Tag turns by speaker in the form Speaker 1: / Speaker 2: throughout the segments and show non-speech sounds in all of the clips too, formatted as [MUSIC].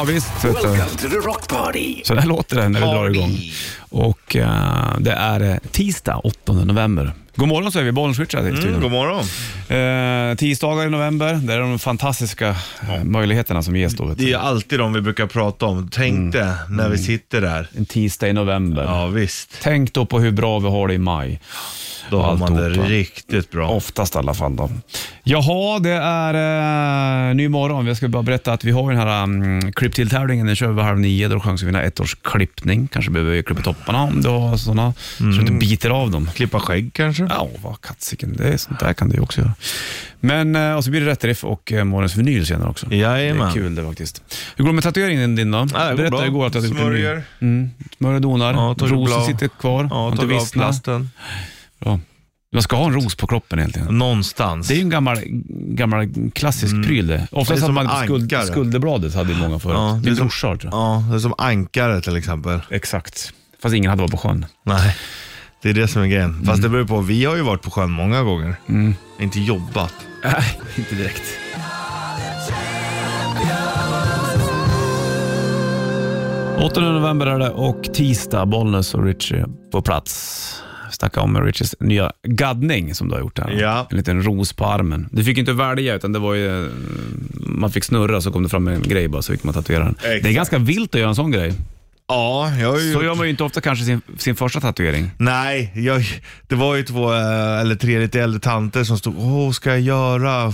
Speaker 1: Ja visst, vet du.
Speaker 2: Welcome to the rock party.
Speaker 1: så där låter det när vi drar igång. Och eh, det är eh, tisdag 8 november. God morgon säger vi, Bollnäs här i
Speaker 3: Mm,
Speaker 1: studion.
Speaker 3: god morgon.
Speaker 1: eh, Tisdagar i november, det är de fantastiska eh, möjligheterna som ges då. Vet
Speaker 3: Det
Speaker 1: du.
Speaker 3: är alltid de vi brukar prata om. Tänk det
Speaker 1: Mm.
Speaker 3: när vi sitter där.
Speaker 1: En tisdag i november.
Speaker 3: Ja visst,
Speaker 1: Tänk då på hur bra vi har det i maj.
Speaker 3: då har man det
Speaker 1: Alltihopa.
Speaker 3: riktigt bra.
Speaker 1: Oftast i alla fall då. Jaha, det är eh, ny morgon. Jag ska bara berätta att vi har ju den här um, klipp till tävlingen. Den kör vi vid halv nio. Då har du chans att vinna ett års klippning. Kanske behöver vi klippa topparna om du har sådana. Så
Speaker 3: Mm.
Speaker 1: du inte biter av dem.
Speaker 3: Klippa skägg kanske?
Speaker 1: Ja, vad kattsiken. Det är sånt där kan du ju också göra. Men, eh, och så blir det rätt riff och eh, morgonens vinyl senare också. Det är
Speaker 3: Jajamän.
Speaker 1: kul det faktiskt. Hur går det med tatueringen din då?
Speaker 3: Ja, det går
Speaker 1: Berätta
Speaker 3: bra.
Speaker 1: igår att jag hade gjort en ny.
Speaker 3: Smörjer.
Speaker 1: Mm, smörjer donar.
Speaker 3: Ja, tagit
Speaker 1: Rosen
Speaker 3: blav.
Speaker 1: sitter kvar. Har
Speaker 3: Ja,
Speaker 1: inte
Speaker 3: tagit av
Speaker 1: vissnat.
Speaker 3: plasten.
Speaker 1: Bra. Man ska ha en ros på kroppen
Speaker 3: Mm.
Speaker 1: egentligen.
Speaker 3: Någonstans.
Speaker 1: Det är ju en gammal, gammal klassisk pryl det. Oftast
Speaker 3: Mm. Det är
Speaker 1: hade
Speaker 3: som
Speaker 1: man skuld,
Speaker 3: ankare.
Speaker 1: skulderbladet hade ju många förut.
Speaker 3: Ja, det
Speaker 1: Min
Speaker 3: är som-
Speaker 1: brorsa har det, tror jag.
Speaker 3: Ja, det är som ankare till exempel.
Speaker 1: Exakt. Fast ingen hade varit på sjön.
Speaker 3: Nej, det är det som är grejen. Fast
Speaker 1: Mm.
Speaker 3: det beror på, vi har ju varit på sjön många gånger. Inte jobbat.
Speaker 1: Nej, inte direkt. november är det och tisdag, Bollnäs och Richie på plats. Snacka om Richies nya gaddning som du har gjort här.
Speaker 3: Ja.
Speaker 1: En liten ros på armen. Du fick inte välja utan det var ju, eh, man fick snurra så kom det fram en grej bara så fick man tatuera den.
Speaker 3: Exakt.
Speaker 1: Det är ganska vilt att göra en sån grej.
Speaker 3: Ja, jag har ju
Speaker 1: Så gör man ju inte ofta kanske sin, sin första tatuering.
Speaker 3: Nej, jag, det var ju två eh, eller tre lite äldre tanter som stod, åh ska jag göra?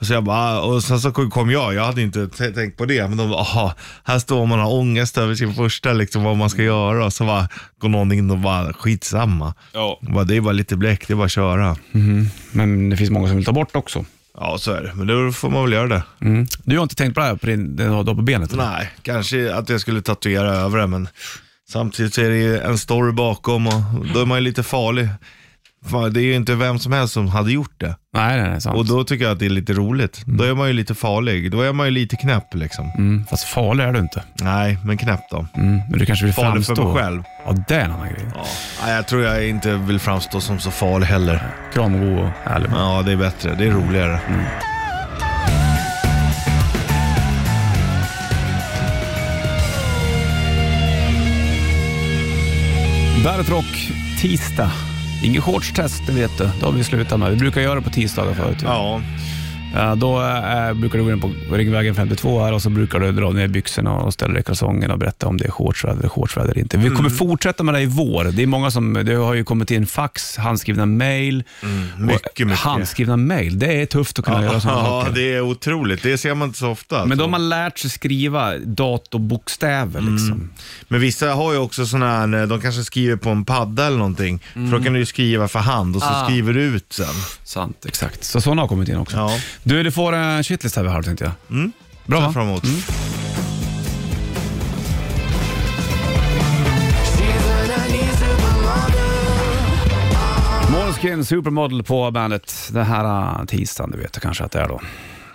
Speaker 3: Så jag bara, "Ah." och sen så kom jag, jag hade inte t- tänkt på det, men de bara, aha, här står man och har ångest över sin första, liksom, vad man ska göra. Och så bara, går någon in och bara, skitsamma.
Speaker 1: Ja.
Speaker 3: Jag Bara, det är bara lite bläck, det är bara att köra.
Speaker 1: Men det finns många som vill ta bort också.
Speaker 3: Ja, så är det. Men då får man väl göra det.
Speaker 1: Du har inte tänkt på det här på din, den du har på benet? eller?
Speaker 3: Mm. Nej, kanske att jag skulle tatuera över det, men samtidigt så är det ju en story bakom och då är man ju lite farlig. Fan, Det är ju inte vem som helst som hade gjort det.
Speaker 1: Nej, nej, nej sant.
Speaker 3: Och då tycker jag att det är lite roligt. Då är man ju lite farlig. Då är man ju lite knäpp liksom.
Speaker 1: Mm, fast farlig är du inte.
Speaker 3: Nej, men knäpp då.
Speaker 1: Mm, men du kanske vill
Speaker 3: Farlig
Speaker 1: framstå.
Speaker 3: för mig själv.
Speaker 1: Ja, det är en annan grej.
Speaker 3: Ja. Nej, jag tror jag inte vill framstå som så farlig heller.
Speaker 1: Kramgod och härlig.
Speaker 3: Ja, det är bättre. Det är roligare.
Speaker 1: Mm. Bandet Rock, tisdag. Ingen shortstest, det vet du. Det har vi slutat med. Vi brukar göra det på tisdagar förut. ju.
Speaker 3: Ja,
Speaker 1: Eh, Då eh, brukar du gå in på Ringvägen 52 här och så brukar du dra ner byxorna och ställa dig i kalsongerna och berätta om det är shortsväder eller shortsväder eller inte. Vi
Speaker 3: Mm.
Speaker 1: kommer fortsätta med det i vår. Det är många som, det har ju kommit in fax, handskrivna mail.
Speaker 3: Mm,
Speaker 1: Och
Speaker 3: mycket, mycket.
Speaker 1: Handskrivna mail, det är tufft att kunna göra sådana
Speaker 3: [LAUGHS] ja,
Speaker 1: saker.
Speaker 3: det är otroligt. Det ser man inte så ofta.
Speaker 1: Men
Speaker 3: alltså. Mm.
Speaker 1: då har man lärt sig skriva datorbokstäver liksom.
Speaker 3: Men vissa har ju också sådana här, eh, de kanske skriver på en padda eller någonting. För då kan du ju skriva för hand och så
Speaker 1: Mm. Ah.
Speaker 3: skriver du ut sen.
Speaker 1: Sant, exakt. Så sådana har kommit in också.
Speaker 3: Ja. Mm.
Speaker 1: Du, du får en shitlist här vid halv tänkte jag. Bra
Speaker 3: Sen
Speaker 1: va?
Speaker 3: framåt.
Speaker 1: Måneskin Supermodel på bandet. Det här eh, tisdagen, du vet jag kanske att det är då.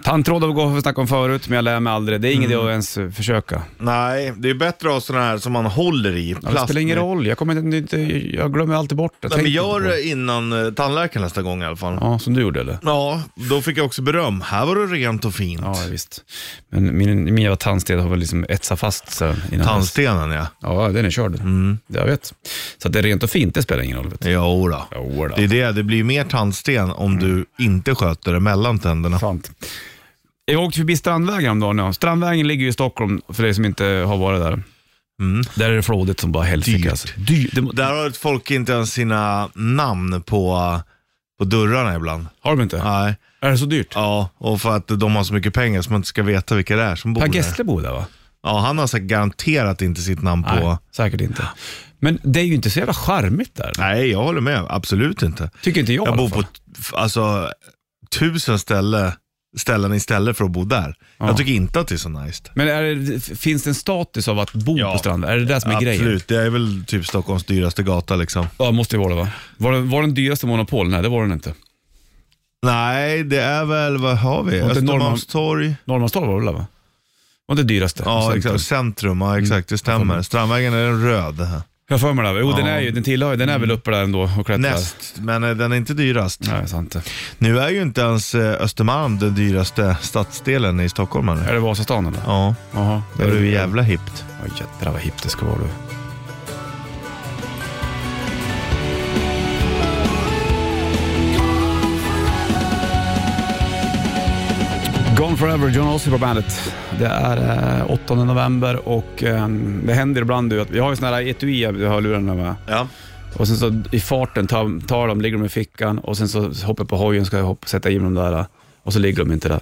Speaker 1: Tandtråd har vi gått och snackat om förut, men jag lär mig aldrig. Det är
Speaker 3: Mm.
Speaker 1: ingen idé att ens eh, försöka.
Speaker 3: Nej, det är bättre att ha sådana här som man håller i.
Speaker 1: Ja, det spelar ingen roll, jag, kommer inte, jag glömmer alltid bort det.
Speaker 3: Nej, men
Speaker 1: Tänk
Speaker 3: gör
Speaker 1: inte på det.
Speaker 3: det innan eh, tandläkaren nästa gång i alla fall. Ja.
Speaker 1: Ja, som du gjorde eller?
Speaker 3: då fick jag också beröm. Här var det rent och fint.
Speaker 1: Ja, visst. Men min, min jävla tandsten har väl liksom etsat fast så innan dess.
Speaker 3: Tandstenen ja.
Speaker 1: Ja, den är körd.
Speaker 3: Mm.
Speaker 1: Jag vet. Så att det är rent och fint, det spelar ingen roll. Vet du.
Speaker 3: Jo då.
Speaker 1: Jo då.
Speaker 3: Det är det, det blir ju mer tandsten om du inte sköter det mellan tänderna.
Speaker 1: Sant. Jag åkte förbi Strandvägen om dagen. ja. Strandvägen ligger ju i Stockholm, för dig som inte har varit där. Där är det flådigt som bara helsike.
Speaker 3: Mm. Dyrt.
Speaker 1: Alltså. Dyrt. Det,
Speaker 3: Där har folk inte ens sina namn på, på dörrarna ibland.
Speaker 1: har de inte?
Speaker 3: Nej.
Speaker 1: Är det så dyrt?
Speaker 3: Ja, och för att de har så mycket pengar så man inte ska veta vilka det är som bor
Speaker 1: Per
Speaker 3: där.
Speaker 1: Gessle bor där va?
Speaker 3: Ja, han har säkert garanterat inte sitt namn på...
Speaker 1: Nej,
Speaker 3: Nej.
Speaker 1: säkert inte. Men det är ju inte så jävla charmigt där.
Speaker 3: jag håller med. Absolut inte.
Speaker 1: Tycker inte jag i
Speaker 3: Jag
Speaker 1: alla
Speaker 3: bor
Speaker 1: fall.
Speaker 3: på t- alltså, tusen ställe, ställen istället för att bo där. Jag tycker inte att det är så nice.
Speaker 1: Men är det, finns det en status av att bo
Speaker 3: Ja.
Speaker 1: på stranden? Är det det som är
Speaker 3: Absolut,
Speaker 1: grejen?
Speaker 3: det är väl typ Stockholms dyraste gata liksom.
Speaker 1: Ja, måste ju vara det va? Var, det, var den dyraste Monopol? Nej, det var den inte.
Speaker 3: Nej, det är väl, vad har vi?
Speaker 1: Och inte
Speaker 3: Östermalmstorg?
Speaker 1: Norrmalmstorg var det väl va? Var det dyraste?
Speaker 3: Ja,
Speaker 1: Centrum. Mm.
Speaker 3: exakt. Centrum, ja exakt, det stämmer. Strandvägen är den röd.
Speaker 1: Jag har för mig det. Jo, den, är ju, den tillhör ju- den är väl uppe där ändå och klättrar.
Speaker 3: Näst, men eh, den är inte dyrast.
Speaker 1: Nej, sant det.
Speaker 3: Nu är ju inte ens eh, Östermalm den dyraste stadsdelen i Stockholm. Eller?
Speaker 1: Är det Mm. Vasastan eller?
Speaker 3: Ja,
Speaker 1: Jaha.
Speaker 3: det är ju jävla hippt.
Speaker 1: Ja, jädrar vad hippt det ska vara du. Gone Forever, John Ossie på bandet. Det är eh, 8 november och eh, det händer ibland du att vi har ju sådana här etui i hörlurarna med.
Speaker 3: Ja.
Speaker 1: Och sen så i farten tar, tar de, ligger de i fickan och sen så hoppar jag på hojen ska jag hoppa, sätta i dem där och så ligger de inte där.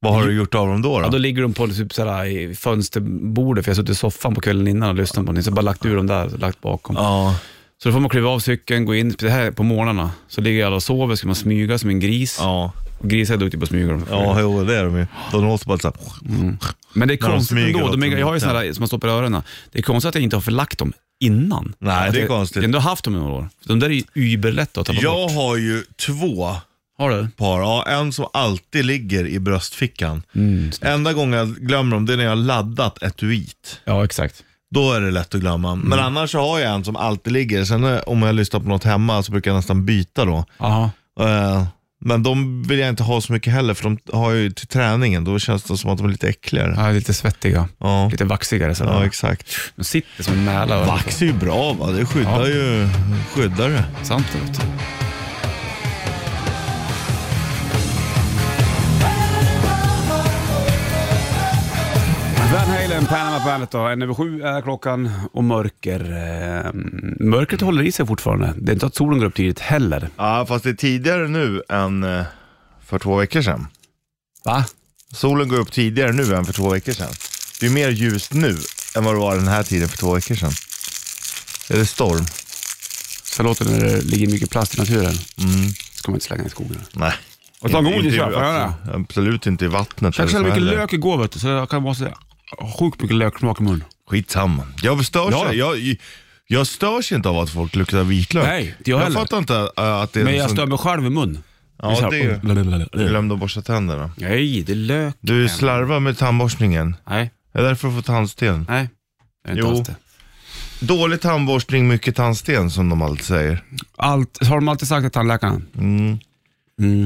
Speaker 3: Vad har du gjort av dem då?
Speaker 1: Ja, då
Speaker 3: då?
Speaker 1: ligger de på typ sådär, i fönsterbordet, för jag har suttit i soffan på kvällen innan och lyssnat på den. Så jag bara lagt ur dem där och lagt bakom.
Speaker 3: Ja.
Speaker 1: Så då får man kliva av cykeln, gå in. Det här är på morgnarna. Så ligger alla och sover, ska man smyga som en gris.
Speaker 3: Ja.
Speaker 1: Och grisar är duktiga på att smyga. De.
Speaker 3: ja, jo det är de ju. De låter bara såhär.
Speaker 1: Men det är
Speaker 3: När de
Speaker 1: konstigt
Speaker 3: smyger
Speaker 1: ändå.
Speaker 3: åt
Speaker 1: De, är-
Speaker 3: dem.
Speaker 1: jag har ju sådana där som man stoppar i öronen. Det är konstigt att jag inte har förlagt dem innan.
Speaker 3: Nej,
Speaker 1: Att
Speaker 3: det är
Speaker 1: jag-
Speaker 3: konstigt.
Speaker 1: Jag har ändå haft dem i några år. De där är ju überlätta att tappa bort.
Speaker 3: Jag har ju två
Speaker 1: Har du?
Speaker 3: par. Ja, en som alltid ligger i bröstfickan.
Speaker 1: Mm.
Speaker 3: Enda gången jag glömmer dem, det är när jag har laddat etuiet.
Speaker 1: Ja, exakt.
Speaker 3: Då är det lätt att glömma. Men annars så har jag en som alltid ligger. Sen eh, om jag lyssnar på något hemma så brukar jag nästan byta då.
Speaker 1: Aha.
Speaker 3: Eh, Men de vill jag inte ha så mycket heller för de har ju till träningen. Då känns det som att de är lite äckligare.
Speaker 1: Ja, lite svettiga.
Speaker 3: Ja,
Speaker 1: Lite vaxigare sådär.
Speaker 3: ja exakt.
Speaker 1: De sitter som en mäla.
Speaker 3: Vax är ju bra va? Det skyddar
Speaker 1: Ja.
Speaker 3: ju skyddar det.
Speaker 1: Sant det vet du. Van Halen, Panama Bandet då. En över sju är klockan och mörker. Eh, mörkret håller i sig fortfarande. Det är inte att solen går upp tidigt heller.
Speaker 3: Ja, fast det är tidigare nu än eh, för två veckor sedan.
Speaker 1: Va?
Speaker 3: Solen går upp tidigare nu än för två veckor sedan. Det är mer ljust nu än vad det var den här tiden för två veckor sedan. Är det storm?
Speaker 1: Så låter det när det ligger mycket plast i naturen. Mm. ska man inte slänga i skogen.
Speaker 3: Nej.
Speaker 1: Och ta
Speaker 3: Inte-
Speaker 1: godis,
Speaker 3: inte i-
Speaker 1: ja, får jag göra?
Speaker 3: absolut- Absolut inte i vattnet.
Speaker 1: Jag
Speaker 3: eller
Speaker 1: käkade
Speaker 3: så
Speaker 1: mycket
Speaker 3: heller.
Speaker 1: lök igår vet du, så jag kan bara säga sjukt mycket löksmak i munnen.
Speaker 3: Skitsamma. Jag störs,
Speaker 1: Ja.
Speaker 3: jag, jag störs inte av att folk luktar vitlök.
Speaker 1: Nej, inte jag
Speaker 3: jag
Speaker 1: heller.
Speaker 3: fattar inte äh, att det är
Speaker 1: Men jag
Speaker 3: sån-
Speaker 1: stör mig själv i mun.
Speaker 3: Ja, det är- Jag glömde att borsta tänderna.
Speaker 1: Nej, det är lök.
Speaker 3: Du slarvar med tandborstningen.
Speaker 1: Nej,
Speaker 3: Det är därför du får tandsten.
Speaker 1: nej. Det är inte
Speaker 3: Jo.
Speaker 1: alls det.
Speaker 3: Dålig tandborstning, mycket tandsten som de alltid säger.
Speaker 1: Allt, har de alltid sagt till tandläkaren?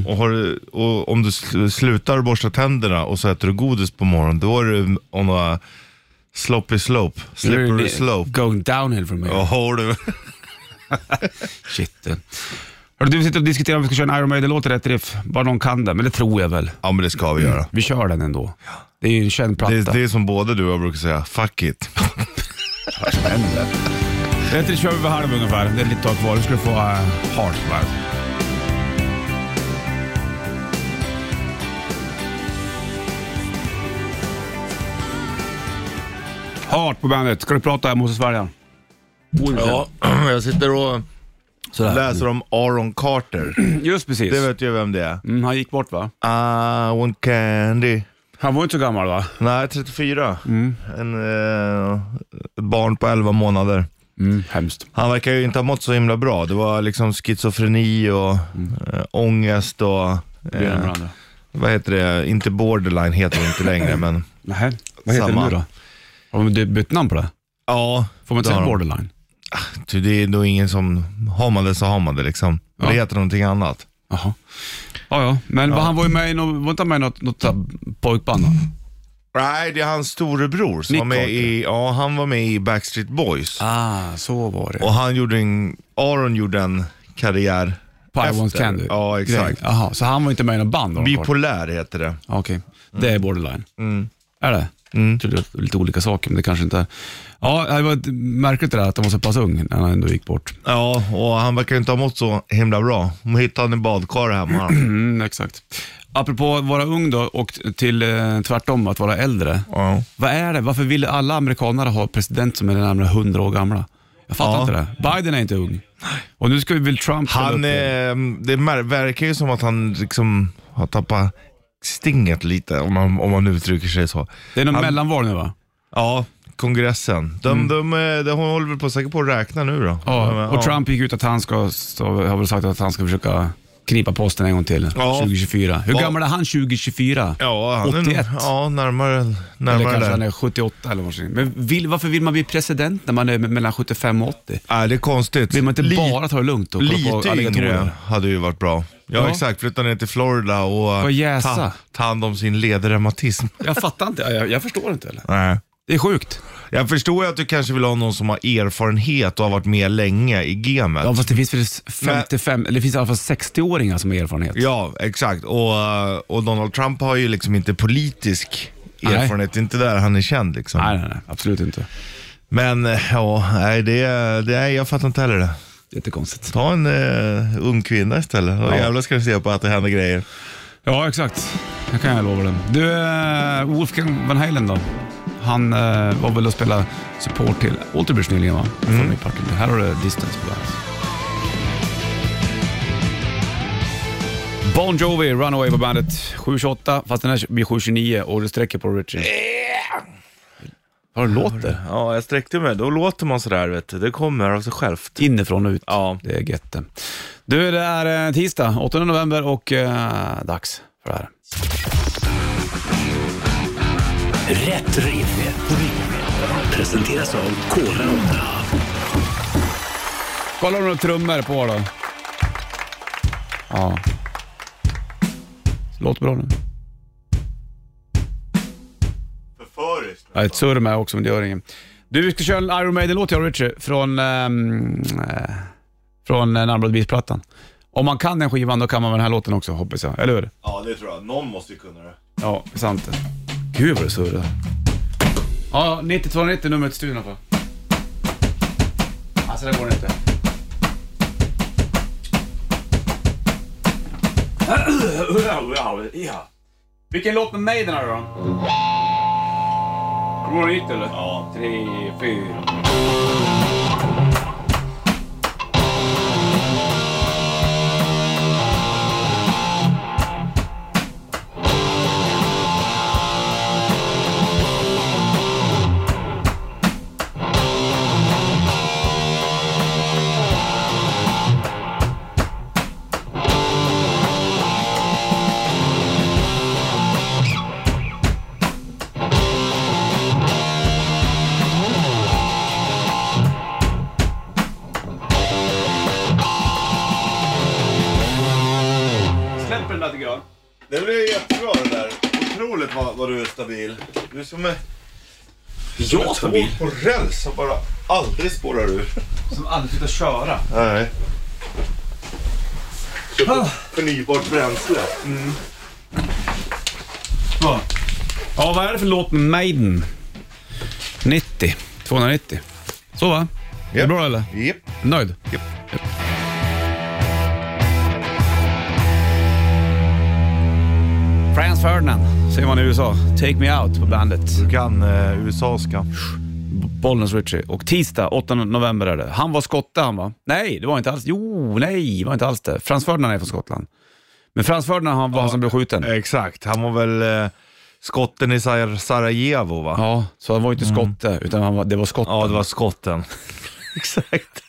Speaker 3: Och, har, du- och om du sl- slutar borsta tänderna och så äter du godis på morgonen, då är du on a sloppy slope. Slippery slope.
Speaker 1: Going downhill from here.
Speaker 3: Ja, har du.
Speaker 1: Shit. du. Hörru, du, vi sitter och diskuterar om vi ska köra en Iron Maiden-låt i rätt riff. Bara någon kan det, men det tror jag väl.
Speaker 3: Ja, men det ska vi göra.
Speaker 1: Vi kör den ändå. Det är ju en känd platta.
Speaker 3: Det, det är som både du och jag brukar säga, fuck it.
Speaker 1: Rätt riff kör vi vid halv ungefär. Det är lite tag kvar. Nu ska du få uh, Heart på bandet. Heart på bandet. Ska du prata? Jag måste svälja.
Speaker 3: Ja, [CLEARS THROAT] jag sitter och
Speaker 1: Sådär.
Speaker 3: läser om Aaron Carter.
Speaker 1: Just precis.
Speaker 3: Det vet ju vem det är.
Speaker 1: Mm, han gick bort va?
Speaker 3: I want Ah, candy.
Speaker 1: Han var inte så gammal va?
Speaker 3: Nej, 34. En, eh, ett barn på 11 månader.
Speaker 1: Mm. Hemskt.
Speaker 3: Han verkar ju inte ha mått så himla bra. Det var liksom schizofreni och eh, ångest och... Eh,
Speaker 1: varandra.
Speaker 3: vad heter det? Inte borderline heter det inte längre, men...
Speaker 1: Nähä, vad heter
Speaker 3: Samma.
Speaker 1: det nu då? Har de bytt namn på det?
Speaker 3: Ja,
Speaker 1: Får man inte
Speaker 3: det har
Speaker 1: säga
Speaker 3: de.
Speaker 1: borderline?
Speaker 3: Ty, det är nog ingen som... Har man det så har man det liksom.
Speaker 1: Ja.
Speaker 3: Det heter någonting annat.
Speaker 1: Jaha. Ja, ja. Men han var ju med i något, var inte han med i något, något så här pojkband? då?
Speaker 3: Nej, det är hans storebror som
Speaker 1: Nick
Speaker 3: var med
Speaker 1: Carter.
Speaker 3: i, ja, han var med i Backstreet Boys.
Speaker 1: Ah, så var det.
Speaker 3: Och han gjorde en, Aron gjorde en karriär
Speaker 1: Pie Wants
Speaker 3: efter.
Speaker 1: Candy?
Speaker 3: Ja, exakt.
Speaker 1: Grejen. Jaha, så han var inte med i något band då? Carl?
Speaker 3: Bipolär heter det.
Speaker 1: Ja, Okej,
Speaker 3: Mm.
Speaker 1: det är borderline. Är det? Jag trodde det var lite olika saker, men det kanske inte är. Ja, det var ett- märkligt det där att han var så pass ung när han ändå gick bort. [CLEARS THROAT]
Speaker 3: Ja, och han verkar ju inte ha mått så himla bra. De hittade han i badkar [CLEARS THROAT] hemma.
Speaker 1: Mm, exakt. Apropå att vara ung då och till eh, tvärtom, att vara äldre.
Speaker 3: ja.
Speaker 1: Vad är det? Varför vill alla amerikanare ha president som är närmare 100 år gamla? Jag fattar
Speaker 3: Ja.
Speaker 1: inte det. Biden är inte ung. Och nu ska vi väl Trump ställa upp
Speaker 3: Han,
Speaker 1: igen.
Speaker 3: eh, det mär- verkar ju som att han liksom har tappat stinget lite, om man, om man uttrycker sig så.
Speaker 1: Det är någon mellanval nu va?
Speaker 3: Ja, kongressen. De, de, eh, de, hon håller väl på säkert på att räkna nu då.
Speaker 1: Mm. Ja.
Speaker 3: Men,
Speaker 1: Och Trump gick ut att han ska, så har väl sagt att han ska försöka knipa posten en gång till.
Speaker 3: Ja.
Speaker 1: 2024. Hur
Speaker 3: Ja.
Speaker 1: gammal är han 2024?
Speaker 3: Ja, han
Speaker 1: 81?
Speaker 3: Är, ja, närmare,
Speaker 1: Eller
Speaker 3: närmare
Speaker 1: kanske
Speaker 3: där.
Speaker 1: han är 78 eller någonting. Men vill, varför vill man bli president när man är me- mellan 75 och 80?
Speaker 3: Nej, det är konstigt.
Speaker 1: Vill man inte
Speaker 3: Li-
Speaker 1: bara ta det lugnt och kolla på
Speaker 3: Lite yngre
Speaker 1: alligatorer?
Speaker 3: hade ju varit bra. Ja,
Speaker 1: Ja.
Speaker 3: exakt. Flytta ner till Florida och
Speaker 1: Och
Speaker 3: eh,
Speaker 1: jäsa.
Speaker 3: ta, ta hand om
Speaker 1: [LAUGHS]
Speaker 3: sin ledreumatism.
Speaker 1: Jag fattar inte. Jag, jag förstår inte. Eller?
Speaker 3: Nej.
Speaker 1: Det är sjukt.
Speaker 3: Jag förstår ju att du kanske vill ha någon som har erfarenhet och har varit med länge i gamet.
Speaker 1: Ja, fast det finns väl 55, eller det finns i alla fall 60-åringar som har erfarenhet.
Speaker 3: Ja, exakt. Och, eh, och Donald Trump har ju liksom inte politisk
Speaker 1: Nej.
Speaker 3: erfarenhet. Det är inte där han är känd liksom.
Speaker 1: Nej, nej, nej. Absolut inte.
Speaker 3: Men eh, ja, nej, det, det, nej, jag fattar inte heller det.
Speaker 1: Jättekonstigt.
Speaker 3: Ta en eh, ung kvinna istället. Då
Speaker 1: Ja.
Speaker 3: jävlar ska du se på att det händer grejer.
Speaker 1: Ja, exakt. Det kan jag lova dig. Du, eh, Wolfgang Van Halen då? Han eh, var väl och spelade support till Alterbridge nyligen va? Från i parken. Här har du Distance på bandet. Bon Jovi, Runaway på bandet. 7.28, fast den här blir 7.29 och du sträcker på Richie. Har du låter?
Speaker 3: Ja, jag sträckte mig. Då låter man sådär, vet du. Det kommer av sig självt.
Speaker 1: Inifrån och ut.
Speaker 3: Ja.
Speaker 1: Det är gött det. Du, det är eh, tisdag 8 november och eh, dags för det här.
Speaker 2: Rätt riff. Rätt riff. Presenteras av Kora 8.
Speaker 1: Kolla om du har trummor på då. Ja. Låter bra nu.
Speaker 3: Förföriskt.
Speaker 1: Ja, ett surr med också, men det gör ingen. Du, vi ska köra en Iron Maiden-låt jag och Richie från, ehm, eh, från eh, Narbrad Beat-plattan. Om man kan den skivan, då kan man väl den här låten också, hoppas jag. Eller hur?
Speaker 3: Ja, det tror jag. Någon måste ju kunna det.
Speaker 1: Ja, sant det. Gud vad det surrar. Ja, 9290 numret till studion i alla fall. Alltså, det går inte. Vilken låt med Maiden är det då? Kommer du ihåg hur det gick eller? Ja. Tre, fyra. Släpper den där tycker jag.
Speaker 3: Det blev jättebra det där. Otroligt vad, vad du är stabil. Du är som är
Speaker 1: Jag stabil.
Speaker 3: på räls som bara aldrig spårar ur.
Speaker 1: Som aldrig slutar köra.
Speaker 3: Nej. Ah. Kör på förnybart bränsle.
Speaker 1: Ja. ja, vad är det för låt med Maiden? 90. 290. Så va? Är det
Speaker 3: Japp.
Speaker 1: bra eller?
Speaker 3: Japp.
Speaker 1: Nöjd?
Speaker 3: Japp.
Speaker 1: Japp. Franz Ferdinand säger man i USA. Take me out på bandet.
Speaker 3: Du kan eh, USA-ska.
Speaker 1: Bollnäs Ritchie. Och tisdag 8 november är det. Han var skotte han va? Nej, det var inte alls. Jo, nej, det var inte alls det. Frans Ferdinand är från Skottland. Men Frans Ferdinand han var han som blev skjuten.
Speaker 3: Exakt. Han var väl eh, skotten i Sar- Sarajevo va? Ja.
Speaker 1: Ja, så han var ju
Speaker 3: Mm.
Speaker 1: inte skotte, utan han var, det var skotten.
Speaker 3: det var skotten. [LAUGHS] Exakt.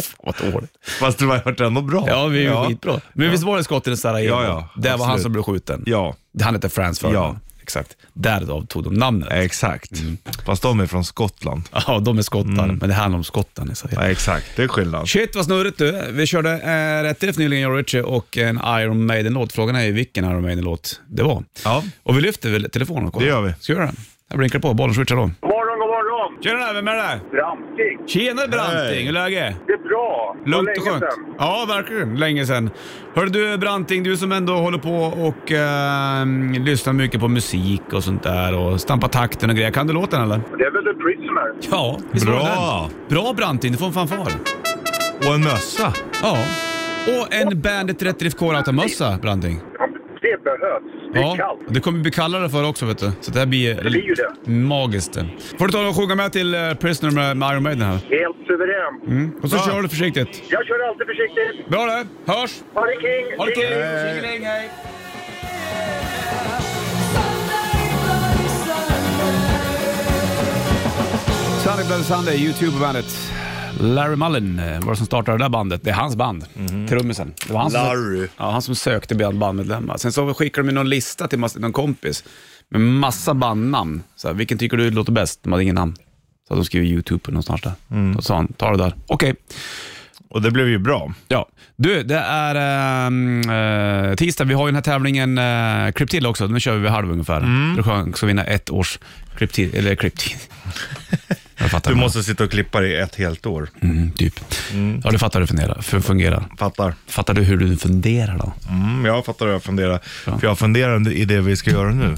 Speaker 1: Fan, vad dåligt.
Speaker 3: Fast det var ändå bra.
Speaker 1: Ja, vi är ju skitbra. Men visst var det skotten i Sarajevo?
Speaker 3: Ja, ja,
Speaker 1: Där var han
Speaker 3: absolut.
Speaker 1: som blev skjuten.
Speaker 3: Ja,
Speaker 1: Han hette Frans Ferdinand. Ja. Exakt. Därav tog de namnet. Mm.
Speaker 3: exakt. Mm. Fast de är från Skottland.
Speaker 1: Ja, de är skottar, men det handlar om skottarna i Sarajevo.
Speaker 3: Ja, exakt. Det är skillnad.
Speaker 1: Shit vad snurrigt du. Vi körde eh, rätt riff nyligen, jag och Richie, och en Iron Maiden-låt. Frågan är ju vilken Iron Maiden-låt det var.
Speaker 3: Ja.
Speaker 1: Och vi lyfter väl telefonen och kollar.
Speaker 3: Det gör vi.
Speaker 1: Ska vi göra det? Jag blinkar på, bollen switchar då.
Speaker 4: God morgon, god morgon!
Speaker 1: Tjena, vem är det där?
Speaker 4: Framsteg.
Speaker 1: Tjena Branting,
Speaker 3: Hej.
Speaker 1: hur är läget?
Speaker 4: Det är bra. Det var
Speaker 1: Lugnt
Speaker 4: länge
Speaker 1: och skönt.
Speaker 4: sedan.
Speaker 1: Ja, verkligen. Länge sedan. Hör du Branting, du som ändå håller på och eh, lyssnar mycket på musik och sånt där och stampar takten och grejer. Kan du låten eller?
Speaker 4: Det är väl The Prisoner?
Speaker 1: Ja, visst var det
Speaker 3: Bra.
Speaker 1: den? Bra Branting, du får en fanfar.
Speaker 3: Och en mössa.
Speaker 1: Ja. Och en Bandit Rätt Drift Core-automössa, Branting.
Speaker 4: Ja, Det behövs. Det är kallt.
Speaker 1: och det kommer bli kallare för också vet du. Så det här blir,
Speaker 4: Det blir ju det.
Speaker 1: magiskt. det. Får du ta och sjunga med till eh, Prisoner med, med Iron Maiden här.
Speaker 4: Helt suveränt.
Speaker 1: Mm. Och så
Speaker 3: Bra.
Speaker 1: kör du försiktigt.
Speaker 4: Jag kör alltid försiktigt.
Speaker 1: Bra det, hörs!
Speaker 4: Ha det king!
Speaker 1: Ha det kul!
Speaker 3: Hej.
Speaker 1: Tjingeling, hej! Sunday Bloody Sunday, YouTube-bandet. Larry Mullen eh, var det som startade det där bandet. Det är hans band, trummisen. Det var han som,
Speaker 3: Mhm. Larry.
Speaker 1: Ja, han som sökte bland bandmedlemmar. Sen så skickade de någon lista till mass- någon kompis med massa bandnamn. Så här, vilken tycker du låter bäst? De hade ingen namn. Så de skrev YouTube någonstans där.
Speaker 3: Mm.
Speaker 1: Då sa han, ta det där. Okej.
Speaker 3: Och det blev ju bra.
Speaker 1: Ja. Du, det är ehm, eh, tisdag. Vi har ju den här tävlingen uh, Kryptill också. Den kör vi vid halv ungefär.
Speaker 3: Mm.
Speaker 1: Då kan- ska vi vinna ett års kryptid. Eller
Speaker 3: [LAUGHS]
Speaker 1: kryptid. Jag fattar.
Speaker 3: Du
Speaker 1: inte.
Speaker 3: måste sitta och klippa dig ett helt år.
Speaker 1: Mm, typ. Ja, du fattar hur det fungerar. För fungerar.
Speaker 3: Fattar.
Speaker 1: Fattar du hur du funderar då?
Speaker 3: Mm, jag fattar hur jag funderar. För jag funderar under- i det vi ska göra nu.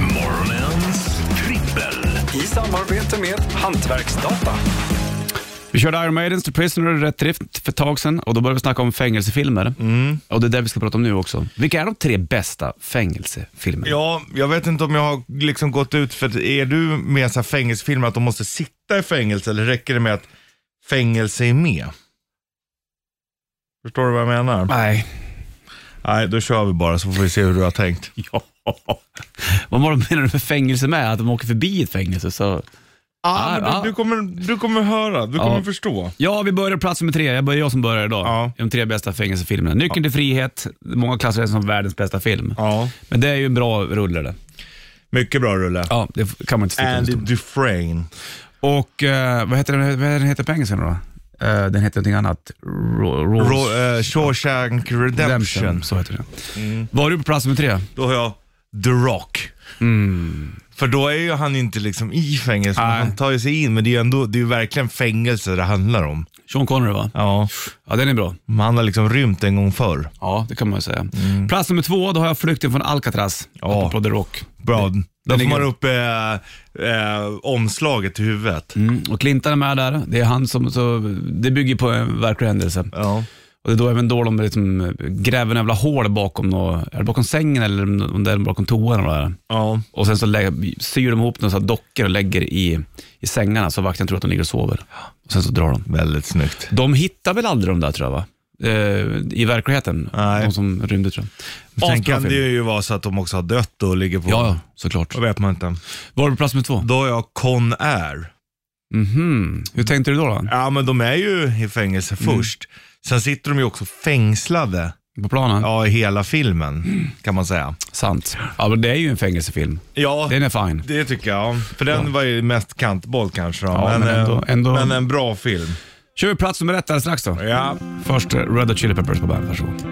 Speaker 2: Morgonens trippel.
Speaker 5: I samarbete med Hantverksdata.
Speaker 1: Vi körde Iron Maidens The Prisoner och Rätt Drift för ett tag sedan och då började vi snacka om fängelsefilmer.
Speaker 3: Mm.
Speaker 1: Och det är det vi ska prata om nu också. Vilka är de tre bästa fängelsefilmerna?
Speaker 3: Ja, jag vet inte om jag har liksom gått ut för att är du med så här fängelsefilmer att de måste sitta i fängelse eller räcker det med att fängelse är med? Förstår du vad jag menar?
Speaker 1: Nej.
Speaker 3: Nej, då kör vi bara så får vi se hur du har tänkt.
Speaker 1: [LAUGHS] Ja. Vad menar du med fängelse med? Att de åker förbi ett fängelse? Så...
Speaker 3: Ah, men
Speaker 1: ah.
Speaker 3: du, du, kommer, du kommer höra, du kommer förstå.
Speaker 1: Ja, vi börjar plats nummer tre. Jag börjar jag som börjar idag.
Speaker 3: Ja.
Speaker 1: De tre bästa fängelsefilmerna. Nyckeln till frihet. Många klassar det som världens bästa film.
Speaker 3: Ja.
Speaker 1: Men det är ju en bra rulle det.
Speaker 3: Mycket bra Rulle.
Speaker 1: Ja, det kan man inte sticka
Speaker 3: Andy
Speaker 1: under
Speaker 3: Dufresne.
Speaker 1: Och eh, vad heter den, vad heter den heter på engelska då? Eh, den heter någonting annat. Ro- Rose-
Speaker 3: Ro, eh, Shawshank Redemption. Mm.
Speaker 1: Redemption. Så heter den. Var du på plats nummer tre?
Speaker 3: Då har jag The Rock. För då är ju han inte liksom i fängelse, men
Speaker 1: Mm. Nej.
Speaker 3: han tar ju sig in. Men det är ju ändå, det är ju verkligen fängelse det handlar om.
Speaker 1: Sean Connery va?
Speaker 3: Ja.
Speaker 1: Ja, den är bra.
Speaker 3: Men han har liksom rymt en gång förr.
Speaker 1: Ja, det kan man ju säga. Plats nummer två, då har jag Flykten från Alcatraz.
Speaker 3: Mm. Ja.
Speaker 1: Apropå The Rock.
Speaker 3: Bra. Då
Speaker 1: den
Speaker 3: får
Speaker 1: är
Speaker 3: man
Speaker 1: grym.
Speaker 3: upp eh, eh, omslaget i huvudet.
Speaker 1: Mm. Och Clintan är med där. Det är han som, så, det bygger på en verklig händelse.
Speaker 3: Ja.
Speaker 1: Och det är då även då de liksom gräver en jävla hål bakom, nå, är det bakom sängen eller om det är bakom toan. Eller vad det är.
Speaker 3: ja.
Speaker 1: Och sen så lä- syr de ihop några så här dockor och lägger i, i sängarna så vakten tror att de ligger och sover. Och sen så drar de.
Speaker 3: Väldigt snyggt.
Speaker 1: De hittar väl aldrig de där tror jag va? Eh, I verkligheten,
Speaker 3: Nej.
Speaker 1: de som rymde tror jag.
Speaker 3: Sen kan
Speaker 1: Asbra
Speaker 3: det
Speaker 1: film.
Speaker 3: ju vara så att de också har dött och ligger på...
Speaker 1: Ja, ja, såklart.
Speaker 3: Då vet man inte.
Speaker 1: Var du på plats med två?
Speaker 3: Då har jag Con Air.
Speaker 1: Mhm. Hur tänkte du då? då?
Speaker 3: Ja, men de är ju i fängelse
Speaker 1: Mm.
Speaker 3: först. Sen sitter de ju också fängslade
Speaker 1: På planen?
Speaker 3: ja, i hela filmen, kan man säga.
Speaker 1: Sant. Ja, men det är ju en fängelsefilm.
Speaker 3: Ja,
Speaker 1: Den är fin.
Speaker 3: Det tycker jag. För den var ju mest kantboll kanske. Då.
Speaker 1: Ja,
Speaker 3: men,
Speaker 1: men ändå-
Speaker 3: eh,
Speaker 1: ändå-
Speaker 3: men en bra film.
Speaker 1: Kör vi plats nummer ett alldeles strax då.
Speaker 3: Ja.
Speaker 1: Först eh, Red Hot Chili Peppers på bandet, varsågod.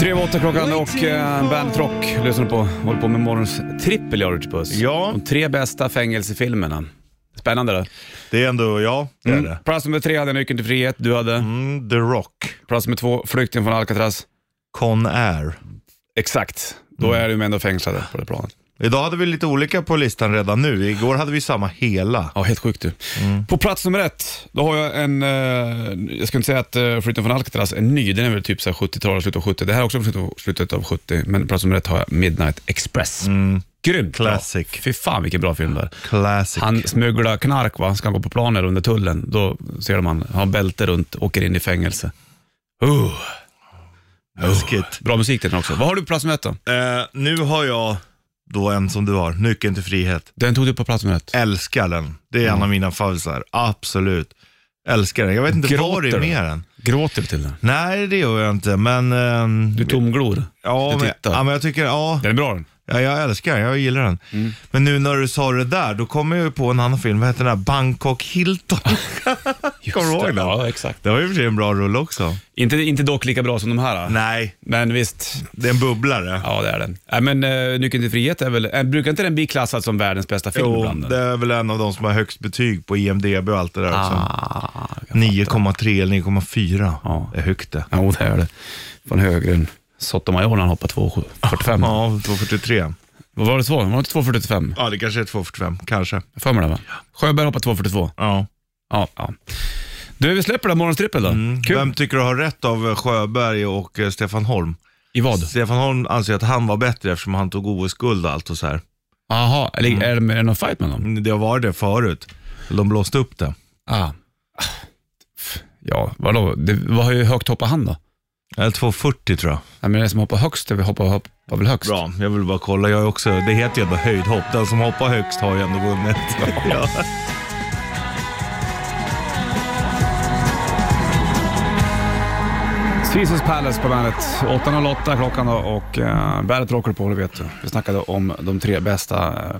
Speaker 1: Tre över åtta klockan och eh, Bandet Rock lyssnar på. Håller på med morgons trippel jag Richard Puss.
Speaker 3: Ja.
Speaker 1: De tre bästa fängelsefilmerna. Spännande då.
Speaker 3: Det är ändå, ja, det är det.
Speaker 1: Plats nummer tre hade jag Nyckeln till frihet, du hade.
Speaker 3: Mm, The Rock,
Speaker 1: Plats nummer två, Flykten från Alcatraz.
Speaker 3: Con Air.
Speaker 1: Exakt. Då
Speaker 3: Mm.
Speaker 1: är du ändå fängslade på det planet.
Speaker 3: Idag hade vi lite olika på listan redan nu. Igår hade vi samma hela.
Speaker 1: Ja, helt sjukt du.
Speaker 3: Mm.
Speaker 1: På plats nummer ett, då har jag en, eh, jag ska inte säga att eh, Flytten från Alcatraz är ny, den är väl typ så här 70-talet, slutet av 70. Det här är också från slutet av- slutet av 70, men plats nummer ett har jag Midnight Express. Grymt bra.
Speaker 3: Mm. Classic.
Speaker 1: Fy fan vilken bra film det är.
Speaker 3: Classic.
Speaker 1: Han smugglar knark, va? ska han gå på planer under tullen, då ser de han, han har bälte runt, åker in i fängelse. Uh,
Speaker 3: Läskigt.
Speaker 1: bra musik till den också. Vad har du på plats nummer ett då?
Speaker 3: Eh, nu har jag då en som du har, Nyckeln till frihet.
Speaker 1: Den tog du på plats nummer ett.
Speaker 3: Älskar den. Det är en av mina favoriter. Absolut. Älskar den. Jag vet inte var det är
Speaker 1: Gråter du?
Speaker 3: med den.
Speaker 1: Gråter du till den?
Speaker 3: Nej, det gör jag inte, men... ehm,
Speaker 1: Du tomglor.
Speaker 3: ja,
Speaker 1: du
Speaker 3: men,
Speaker 1: tittar.
Speaker 3: ja, men jag tycker, ja.
Speaker 1: Den är bra den.
Speaker 3: Ja, jag älskar den. Jag gillar den.
Speaker 1: Mm.
Speaker 3: Men nu när du sa det där, då kommer jag ju på en annan film. Vad heter den där?
Speaker 1: [LAUGHS]
Speaker 3: Bangkok Hilton. Kommer du ihåg den?
Speaker 1: Ja, exakt.
Speaker 3: Det var ju i och för sig en bra rulle också.
Speaker 1: Inte, inte dock lika bra som de här. då.
Speaker 3: Nej,
Speaker 1: Men visst,
Speaker 3: det är en bubblare.
Speaker 1: ja det är den. Nej, men uh, Nyckeln till frihet är väl, eh, brukar inte den bli klassad som världens bästa film
Speaker 3: Jo,
Speaker 1: ibland?
Speaker 3: det är väl en av de som har högst betyg på IMDB och allt det där också.
Speaker 1: Ah, jag fattar.
Speaker 3: 9,3 eller 9,4.
Speaker 1: Ja.
Speaker 3: Det är högt det.
Speaker 1: Jo, det är det. Från högre än Sotomayor när han hoppade 2,45.
Speaker 3: Ja, 2,43.
Speaker 1: Vad var det så? Var det inte 2,45?
Speaker 3: Ja, det kanske är 2,45. Kanske.
Speaker 1: Jag för mig det va? Sjöberg hoppade 2,42.
Speaker 3: Ja.
Speaker 1: Ja, ja. Du, vi släpper det här morgonstrippel då. Kul.
Speaker 3: Mm, Vem tycker du har rätt av eh, Sjöberg och eh, Stefan Holm?
Speaker 1: I vad?
Speaker 3: Stefan Holm anser att han var bättre eftersom han tog OS-guld och allt och så här.
Speaker 1: Jaha, eller
Speaker 3: Mm.
Speaker 1: är, det, är det någon fight med dem?
Speaker 3: Det har varit det förut. De blåste upp det.
Speaker 1: Ah. Ja, vadå? Det var ju högt hoppa han då?
Speaker 3: Eller 240 tror jag.
Speaker 1: Nej, men den som hoppar högst över hoppar, hoppar väl högst?
Speaker 3: Bra, jag vill bara kolla. Jag är också, det heter ju ändå höjdhopp. Den som hoppar högst har ju ändå vunnit. [LAUGHS] Ja.
Speaker 1: Jesus Palace på bandet. 8.08 klockan då och uh, bandet rockar på, det vet du. Vi snackade om de tre bästa eh,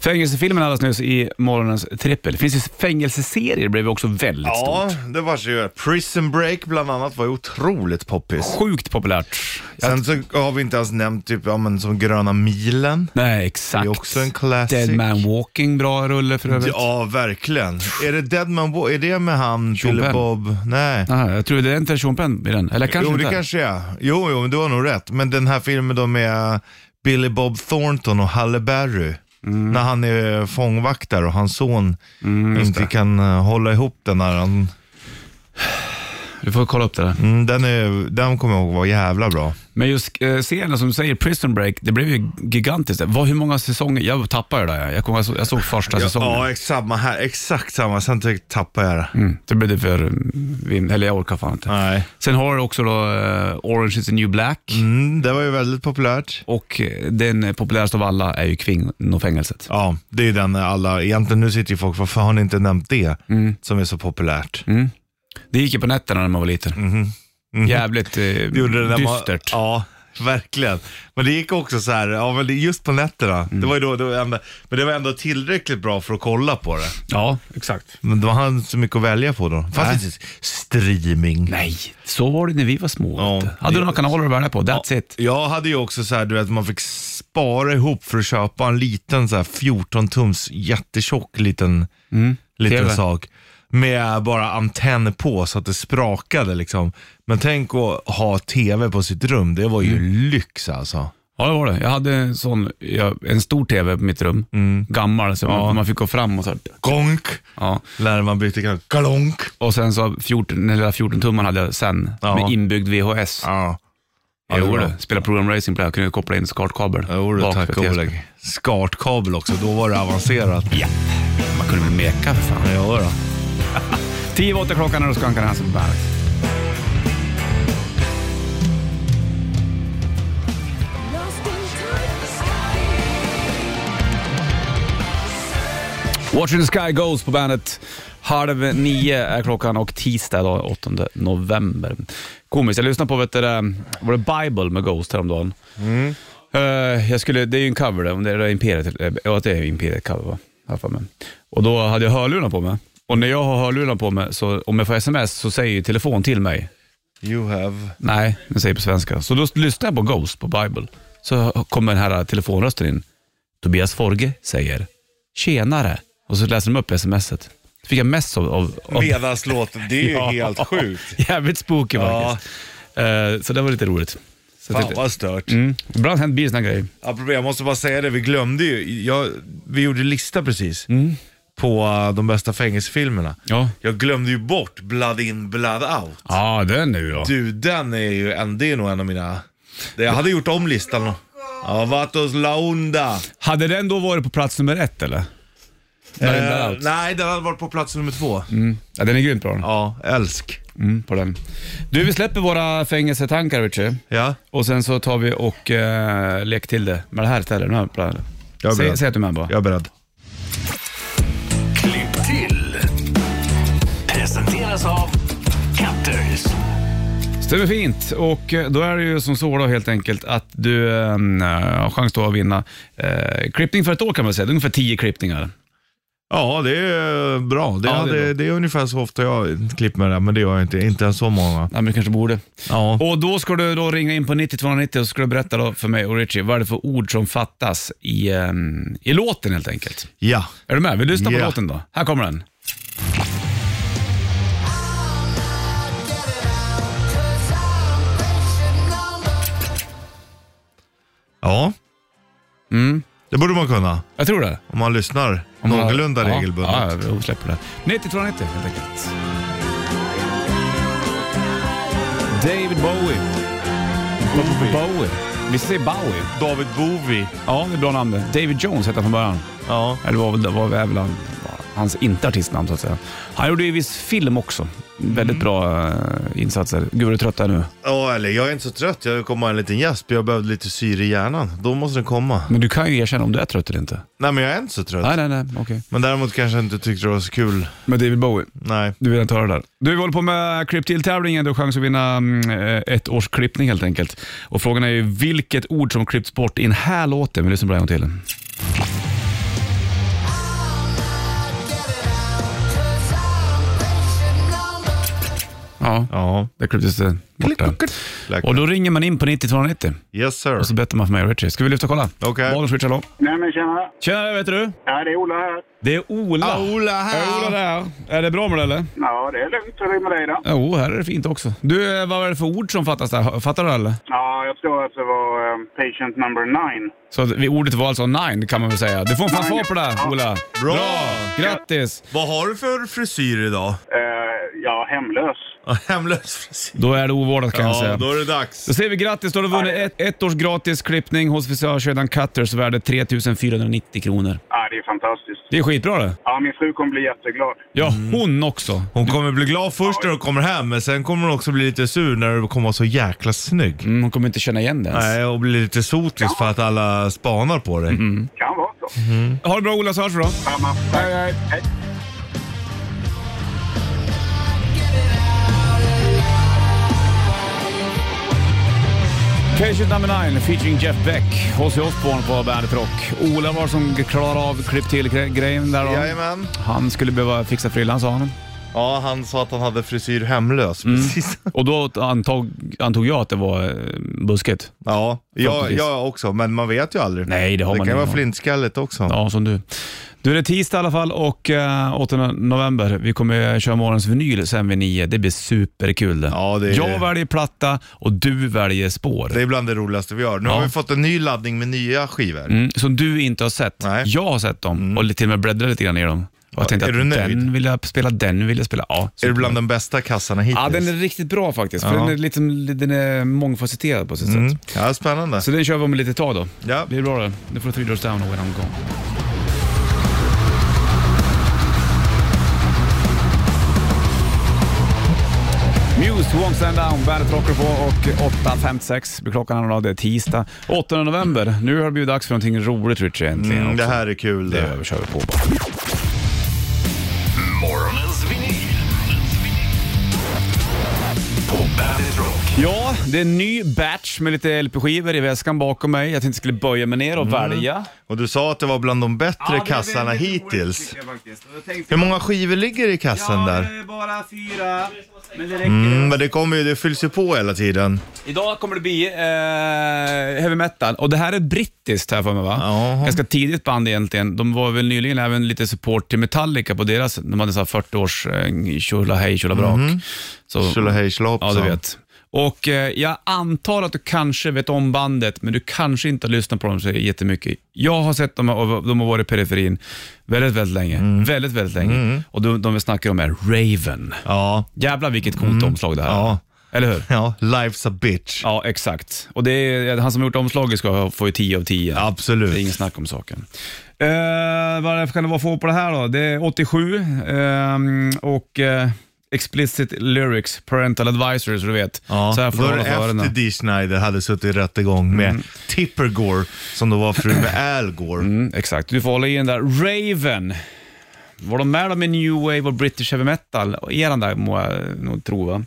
Speaker 1: fängelsefilmerna alldeles nyss i morgonens trippel. Det finns ju fängelseserier, det blev också väldigt stort.
Speaker 3: ja, det var så ju. Prison Break bland annat var ju otroligt poppis.
Speaker 1: Sjukt populärt. Jag-
Speaker 3: Sen så har vi inte ens nämnt typ, ja men som Gröna Milen.
Speaker 1: Nej, exakt.
Speaker 3: Det är också en classic.
Speaker 1: Dead Man Walking, bra rulle för övrigt.
Speaker 3: Ja, verkligen. Är det Deadman Walk? Är det med han,
Speaker 1: Sean
Speaker 3: Billy
Speaker 1: Penn.
Speaker 3: Bob? Nej.
Speaker 1: Ah, jag tror det är inte Sean Penn i den. Eller kanske
Speaker 3: jo,
Speaker 1: inte.
Speaker 3: det kanske är. Jo, jo, men du har nog rätt. Men den här filmen då med Billy Bob Thornton och Halle Berry. När han är fångvakt där och hans son inte kan eh, hålla ihop den här. Han,
Speaker 1: Du får kolla upp det där.
Speaker 3: mm, den, är, den kommer jag ihåg var jävla bra.
Speaker 1: Men just eh, serien som du säger, Prison Break, det blev ju gigantiskt. Vad, hur många säsonger? Jag tappade det där. Jag, kom, jag, såg, jag såg första säsongen.
Speaker 3: Ja, exakt samma här. Exakt samma. Sen tyck- tappade jag det.
Speaker 1: Mm, det blev det för... mm, vin- Eller jag orkar fan inte.
Speaker 3: Nej.
Speaker 1: Sen har du också då eh, Orange is the new black
Speaker 3: Mm, det var ju väldigt populärt.
Speaker 1: och eh, den populäraste av alla är ju Kvinnofängelset.
Speaker 3: Ja, det är ju den alla, egentligen nu sitter ju folk, varför har ni inte nämnt det? Som är så populärt.
Speaker 1: Det gick ju på nätterna när man var liten. Jävligt eh,
Speaker 3: Mhm. Det gjorde det när man-
Speaker 1: dystert.
Speaker 3: Ja, verkligen. Men det gick också så här, ja, men det- just på nätterna.
Speaker 1: Mm.
Speaker 3: Det var ju då, det var ändå, men det var ändå tillräckligt bra för att kolla på det.
Speaker 1: Ja, exakt.
Speaker 3: Men det var inte så mycket att välja på då. Fast inte streaming.
Speaker 1: Nej, så var det när vi var små.
Speaker 3: Ja.
Speaker 1: vet du. Hade du några kanaler att välja på? That's it.
Speaker 3: Jag hade ju också så här, du vet, man fick spara ihop för att köpa en liten så här 14-tums jättetjock liten,
Speaker 1: Mm.
Speaker 3: liten
Speaker 1: TV.
Speaker 3: sak. Med bara antenn på så att det sprakade liksom. Men tänk att ha TV på sitt rum, det var ju
Speaker 1: Mm.
Speaker 3: lyx alltså.
Speaker 1: Ja, det var det. Jag hade en sån, ja, en stor TV på mitt rum.
Speaker 3: Mm.
Speaker 1: Gammal, så man, man fick gå fram och så här.
Speaker 3: Gonk!
Speaker 1: Ja.
Speaker 3: Lärde man bytte kanal. Kalonk!
Speaker 1: Och sen så 14, den lilla 14 tumman hade jag sen
Speaker 3: Ja.
Speaker 1: med inbyggd VHS.
Speaker 3: Ja.
Speaker 1: Jag
Speaker 3: det
Speaker 1: gjorde
Speaker 3: var-
Speaker 1: det. Spelade programracing på det. Jag kunde koppla in skartkabel.
Speaker 3: Jo du,
Speaker 1: bak
Speaker 3: tack
Speaker 1: för
Speaker 3: och
Speaker 1: TV:n.
Speaker 3: belägg. Skartkabel också, då var det avancerat.
Speaker 1: Ja, man kunde väl meka för fan.
Speaker 3: [LAUGHS] Ja, då.
Speaker 1: 10 åtta klockan när du skankar hans på bandet. Watching the sky goes på bandet. Halv nio är klockan och tisdag då, 8 november. Komiskt, jag lyssnade på vet du, det, var det Bible med Ghost häromdagen. Eh, jag skulle, det är ju en cover där, om det är Imperiet, eh, ja det är Imperiet cover va? Här för mig. Och då hade jag hörlurar på mig. Och när jag har hörlurar på mig, så om jag får sms så säger ju telefon till mig.
Speaker 3: You have...
Speaker 1: Nej, den säger på svenska. Så då lyssnar jag på Ghost på Bible. Så kommer den här telefonrösten in. Tobias Forge säger “Tjenare” och så läser de upp smset. Så fick jag mest av... av, av
Speaker 3: Medans låten, det är [LAUGHS] ju helt
Speaker 1: [LAUGHS]
Speaker 3: sjukt.
Speaker 1: jävligt spooky
Speaker 3: Ja.
Speaker 1: faktiskt. Eh, så det var lite roligt. Så jag
Speaker 3: Fan
Speaker 1: tyckte,
Speaker 3: vad stört.
Speaker 1: mm, ibland händer blir såna grejer.
Speaker 3: Apropå, jag måste bara säga det, vi glömde ju, jag, vi gjorde lista precis på uh, de bästa fängelsefilmerna.
Speaker 1: Ja.
Speaker 3: Jag glömde ju bort Blood In Blood Out.
Speaker 1: Ja, den nu då.
Speaker 3: Du, den är ju en, det är nog en av mina... Det, jag hade gjort om listan. Avatos La Onda.
Speaker 1: Hade den då varit på plats nummer ett eller? Marin
Speaker 3: Eh,
Speaker 1: Bell Out.
Speaker 3: nej, den hade varit på plats nummer två.
Speaker 1: Ja, den är grymt bra den.
Speaker 3: Ja, älsk.
Speaker 1: Mm, på den. Du, vi släpper våra fängelsetankar Richie.
Speaker 3: Ja.
Speaker 1: Och sen så tar vi och uh, leker till det med det här istället. Den här planen.
Speaker 3: Jag är
Speaker 1: Säg,
Speaker 3: beredd.
Speaker 1: säg att du är med bara.
Speaker 3: Jag är beredd.
Speaker 2: Klipp till. Presenteras av Cutters.
Speaker 1: Stämmer fint. Och eh, då är det ju som så då helt enkelt att du eh, har chans då att vinna eh, klippning för ett år kan man säga. Det är ungefär tio klippningar.
Speaker 3: Ja, det är eh, bra. Det,
Speaker 1: Ja, det är
Speaker 3: det, det, är ungefär så ofta jag klipper det, men det gör jag inte. Inte ens så många.
Speaker 1: Ja, men du kanske borde.
Speaker 3: Ja.
Speaker 1: Och då ska du då ringa in på 9290 och så ska du berätta då för mig och Richie vad är det för ord som fattas i, eh, i låten helt enkelt.
Speaker 3: Ja.
Speaker 1: Är du med? Vi lyssnar på
Speaker 3: Ja.
Speaker 1: låten då. Här kommer den.
Speaker 3: Ja. Det borde man kunna.
Speaker 1: Jag tror det.
Speaker 3: Om man lyssnar
Speaker 1: Om man-
Speaker 3: någorlunda
Speaker 1: ja,
Speaker 3: regelbundet.
Speaker 1: Ja, vi släpper det. 9290 helt enkelt. David Bowie. Bowie. Bowie. Vi säger Bowie.
Speaker 3: David Bowie.
Speaker 1: Ja, det är bra namn det. David Jones hette han från början.
Speaker 3: Ja.
Speaker 1: Eller var väl var väl han. hans inte artistnamn så att säga. Han gjorde ju viss film också. Väldigt bra eh, insatser. Gud vad du trött är nu.
Speaker 3: Ja, eller jag är inte så trött. Jag kommer ha en liten gäsp. Jag behövde lite syre i hjärnan. Då måste den komma.
Speaker 1: Men du kan ju erkänna om du är trött eller inte. Alltså. Mm.
Speaker 3: Nej, men jag är inte så trött.
Speaker 1: Nej, nej, nej. Okej.
Speaker 3: Men däremot kanske jag inte tyckte det var så kul.
Speaker 1: Men David Bowie.
Speaker 3: Nej.
Speaker 1: Du vill inte höra det där. Du, vi håller på med klipptil-tävlingen. Du har chans att vinna mm, ett års klippning helt enkelt. Och frågan är ju vilket ord som klippts bort i den här låten. Vi lyssnar på det en gång till. Ja,
Speaker 3: Ja.
Speaker 1: det klipptes eh, bort där.
Speaker 3: Läkare.
Speaker 1: Och då ringer man in på 90-290
Speaker 3: Yes sir.
Speaker 1: och så bettar man för mig och Richie. Ska vi lyfta och kolla?
Speaker 3: Okej.
Speaker 1: Bollen switch, hallå.
Speaker 4: Nej men tjena.
Speaker 1: Tjena, vet du?
Speaker 4: Ja, det är Ola här.
Speaker 1: Det är Ola.
Speaker 3: Ola
Speaker 1: Är Ola där? Är det bra med det eller?
Speaker 4: Ja, det är lugnt. Hur är det med dig då?
Speaker 1: Jo, här är det fint också. Du, eh, vad är det för ord som fattas där? Fattar du det, eller?
Speaker 4: Ja, jag tror att det var eh, patient number nine.
Speaker 1: Så att vi- ordet var alltså nine kan man väl säga. Du får en fanfar på det här, Ola.
Speaker 3: Bra.
Speaker 1: Grattis!
Speaker 3: Vad har du för frisyr idag? [LAUGHS]
Speaker 4: Eh, ja, hemlös.
Speaker 3: Hemlös frisyr.
Speaker 1: Då är det ovårdat kan jag
Speaker 3: Ja,
Speaker 1: säga.
Speaker 3: då är det dags.
Speaker 1: Då säger vi grattis, då har du vunnit ett, ett års gratis klippning hos frisörkedjan Cutters värde 3490 kronor.
Speaker 4: Ja, det är fantastiskt.
Speaker 1: Det är skitbra det.
Speaker 4: Ja, min fru kommer bli jätteglad.
Speaker 1: Ja, hon också.
Speaker 3: Hon kommer bli glad först när hon kommer hem, men sen kommer hon också bli lite sur när du kommer vara så jäkla snygg.
Speaker 1: Mm, hon kommer inte känna igen det ens.
Speaker 3: Nej, och bli lite sotis för att alla spanar på dig.
Speaker 4: Kan vara så.
Speaker 1: Ha det bra Ola, så hörs vi då.
Speaker 4: Samma. Hej, hej.
Speaker 1: Patient number 9 featuring Jeff Beck, Ozzy Osbourne på Bandet Rock. Ola var som klarade av klipp till gre- grejen där då.
Speaker 3: Jajamän.
Speaker 1: Han skulle behöva fixa frillan sa han.
Speaker 3: Ja, han sa att han hade frisyr hemlös. [LAUGHS] Precis.
Speaker 1: Och då antog, antog jag att det var eh, busket.
Speaker 3: Ja, jag,
Speaker 1: Faktiskt.
Speaker 3: jag också, men man vet ju aldrig.
Speaker 1: Nej, det har
Speaker 3: det
Speaker 1: man
Speaker 3: kan ju
Speaker 1: ingen
Speaker 3: vara
Speaker 1: aning
Speaker 3: flintskallet också.
Speaker 1: Ja, som du. Du, det är tisdag i alla fall och eh, 8 november. Vi kommer köra morgonens vinyl sen vid nio. Det blir superkul det.
Speaker 3: Ja, det är-
Speaker 1: Jag väljer platta och du väljer spår.
Speaker 3: Det är bland det roligaste vi gör. Nu
Speaker 1: Ja.
Speaker 3: har vi fått en ny laddning med nya skivor.
Speaker 1: Mm, som du inte har sett.
Speaker 3: Nej. Mm.
Speaker 1: Jag har sett dem och till och med bläddrat lite grann i dem. Och jag tänkte
Speaker 3: är
Speaker 1: att
Speaker 3: du nöjd?
Speaker 1: den vill jag spela, den vill jag spela. Ja,
Speaker 3: Är det
Speaker 1: superbra.
Speaker 3: bland de bästa kassarna hittills?
Speaker 1: Ja, den är riktigt bra faktiskt. För
Speaker 3: Ja.
Speaker 1: den, är liksom, den är mångfacetterad på sitt
Speaker 3: Mm.
Speaker 1: sätt.
Speaker 3: Ja, spännande.
Speaker 1: Så den kör vi om ett litet tag då.
Speaker 3: Ja.
Speaker 1: Det är bra det. Nu får du Three Doors Down och When I'm Gone. Muse, Won't Stand Down, bandet rockar på och 8.56 blir klockan och det är tisdag 8 november. Nu har det blivit dags för någonting roligt Richie äntligen.
Speaker 3: Mm, det
Speaker 1: också.
Speaker 3: här är kul det.
Speaker 1: det kör vi på bara.
Speaker 2: Morgonens vinyl. På Bandit Rock.
Speaker 1: Ja, det är en ny batch med lite LP-skivor i väskan bakom mig. Jag tänkte jag skulle böja mig ner och
Speaker 3: Mm.
Speaker 1: välja.
Speaker 3: Och du sa att det var bland de bättre kassarna hittills. Hur många skivor ligger i kassen där?
Speaker 1: är bara fyra, men det räcker.
Speaker 3: Mm, men det kommer ju, det fylls ju på hela tiden.
Speaker 1: Idag kommer det bli eh, heavy metal och det här är brittiskt här för mig va?
Speaker 3: Jaha.
Speaker 1: Ganska tidigt band egentligen. De var väl nyligen även lite support till Metallica på deras, de hade så här 40 års eh, tjola hej tjola brak.
Speaker 3: Mhm.
Speaker 1: Så-
Speaker 3: Tjolahej tjolahoppsan.
Speaker 1: Ja, du vet. Och eh, jag antar att du kanske vet om bandet, men du kanske inte har lyssnat på dem så jättemycket. Jag har sett dem och de har varit i periferin väldigt, väldigt länge.
Speaker 3: Mm.
Speaker 1: Väldigt, väldigt länge. Och de, de vi snackar om är Raven.
Speaker 3: Ja, Mm.
Speaker 1: Jävlar vilket coolt omslag det här
Speaker 3: Ja.
Speaker 1: är. Eller hur?
Speaker 3: ja, life's a bitch.
Speaker 1: Ja, exakt. Och det är, han som har gjort omslaget ska ha- få ju 10 av 10. Det är
Speaker 3: Absolut.
Speaker 1: ingen snack om saken. Eh, vad kan det vara för år på det här då? Det är 87 ehm, och eh, explicit lyrics, parental advisory så du vet.
Speaker 3: Ja,
Speaker 1: så här
Speaker 3: då
Speaker 1: får du
Speaker 3: är
Speaker 1: hålla
Speaker 3: det
Speaker 1: för öronen.
Speaker 3: efter Dee Snider hade suttit i rättegång med Tipper Gore, som då var fru
Speaker 1: [CLEARS THROAT]
Speaker 3: med Al Gore.
Speaker 1: Mm, exakt, du får hålla i den där. Raven. Var de med om i New Wave och British Heavy Metal? Och Eran där må jag nog tro va?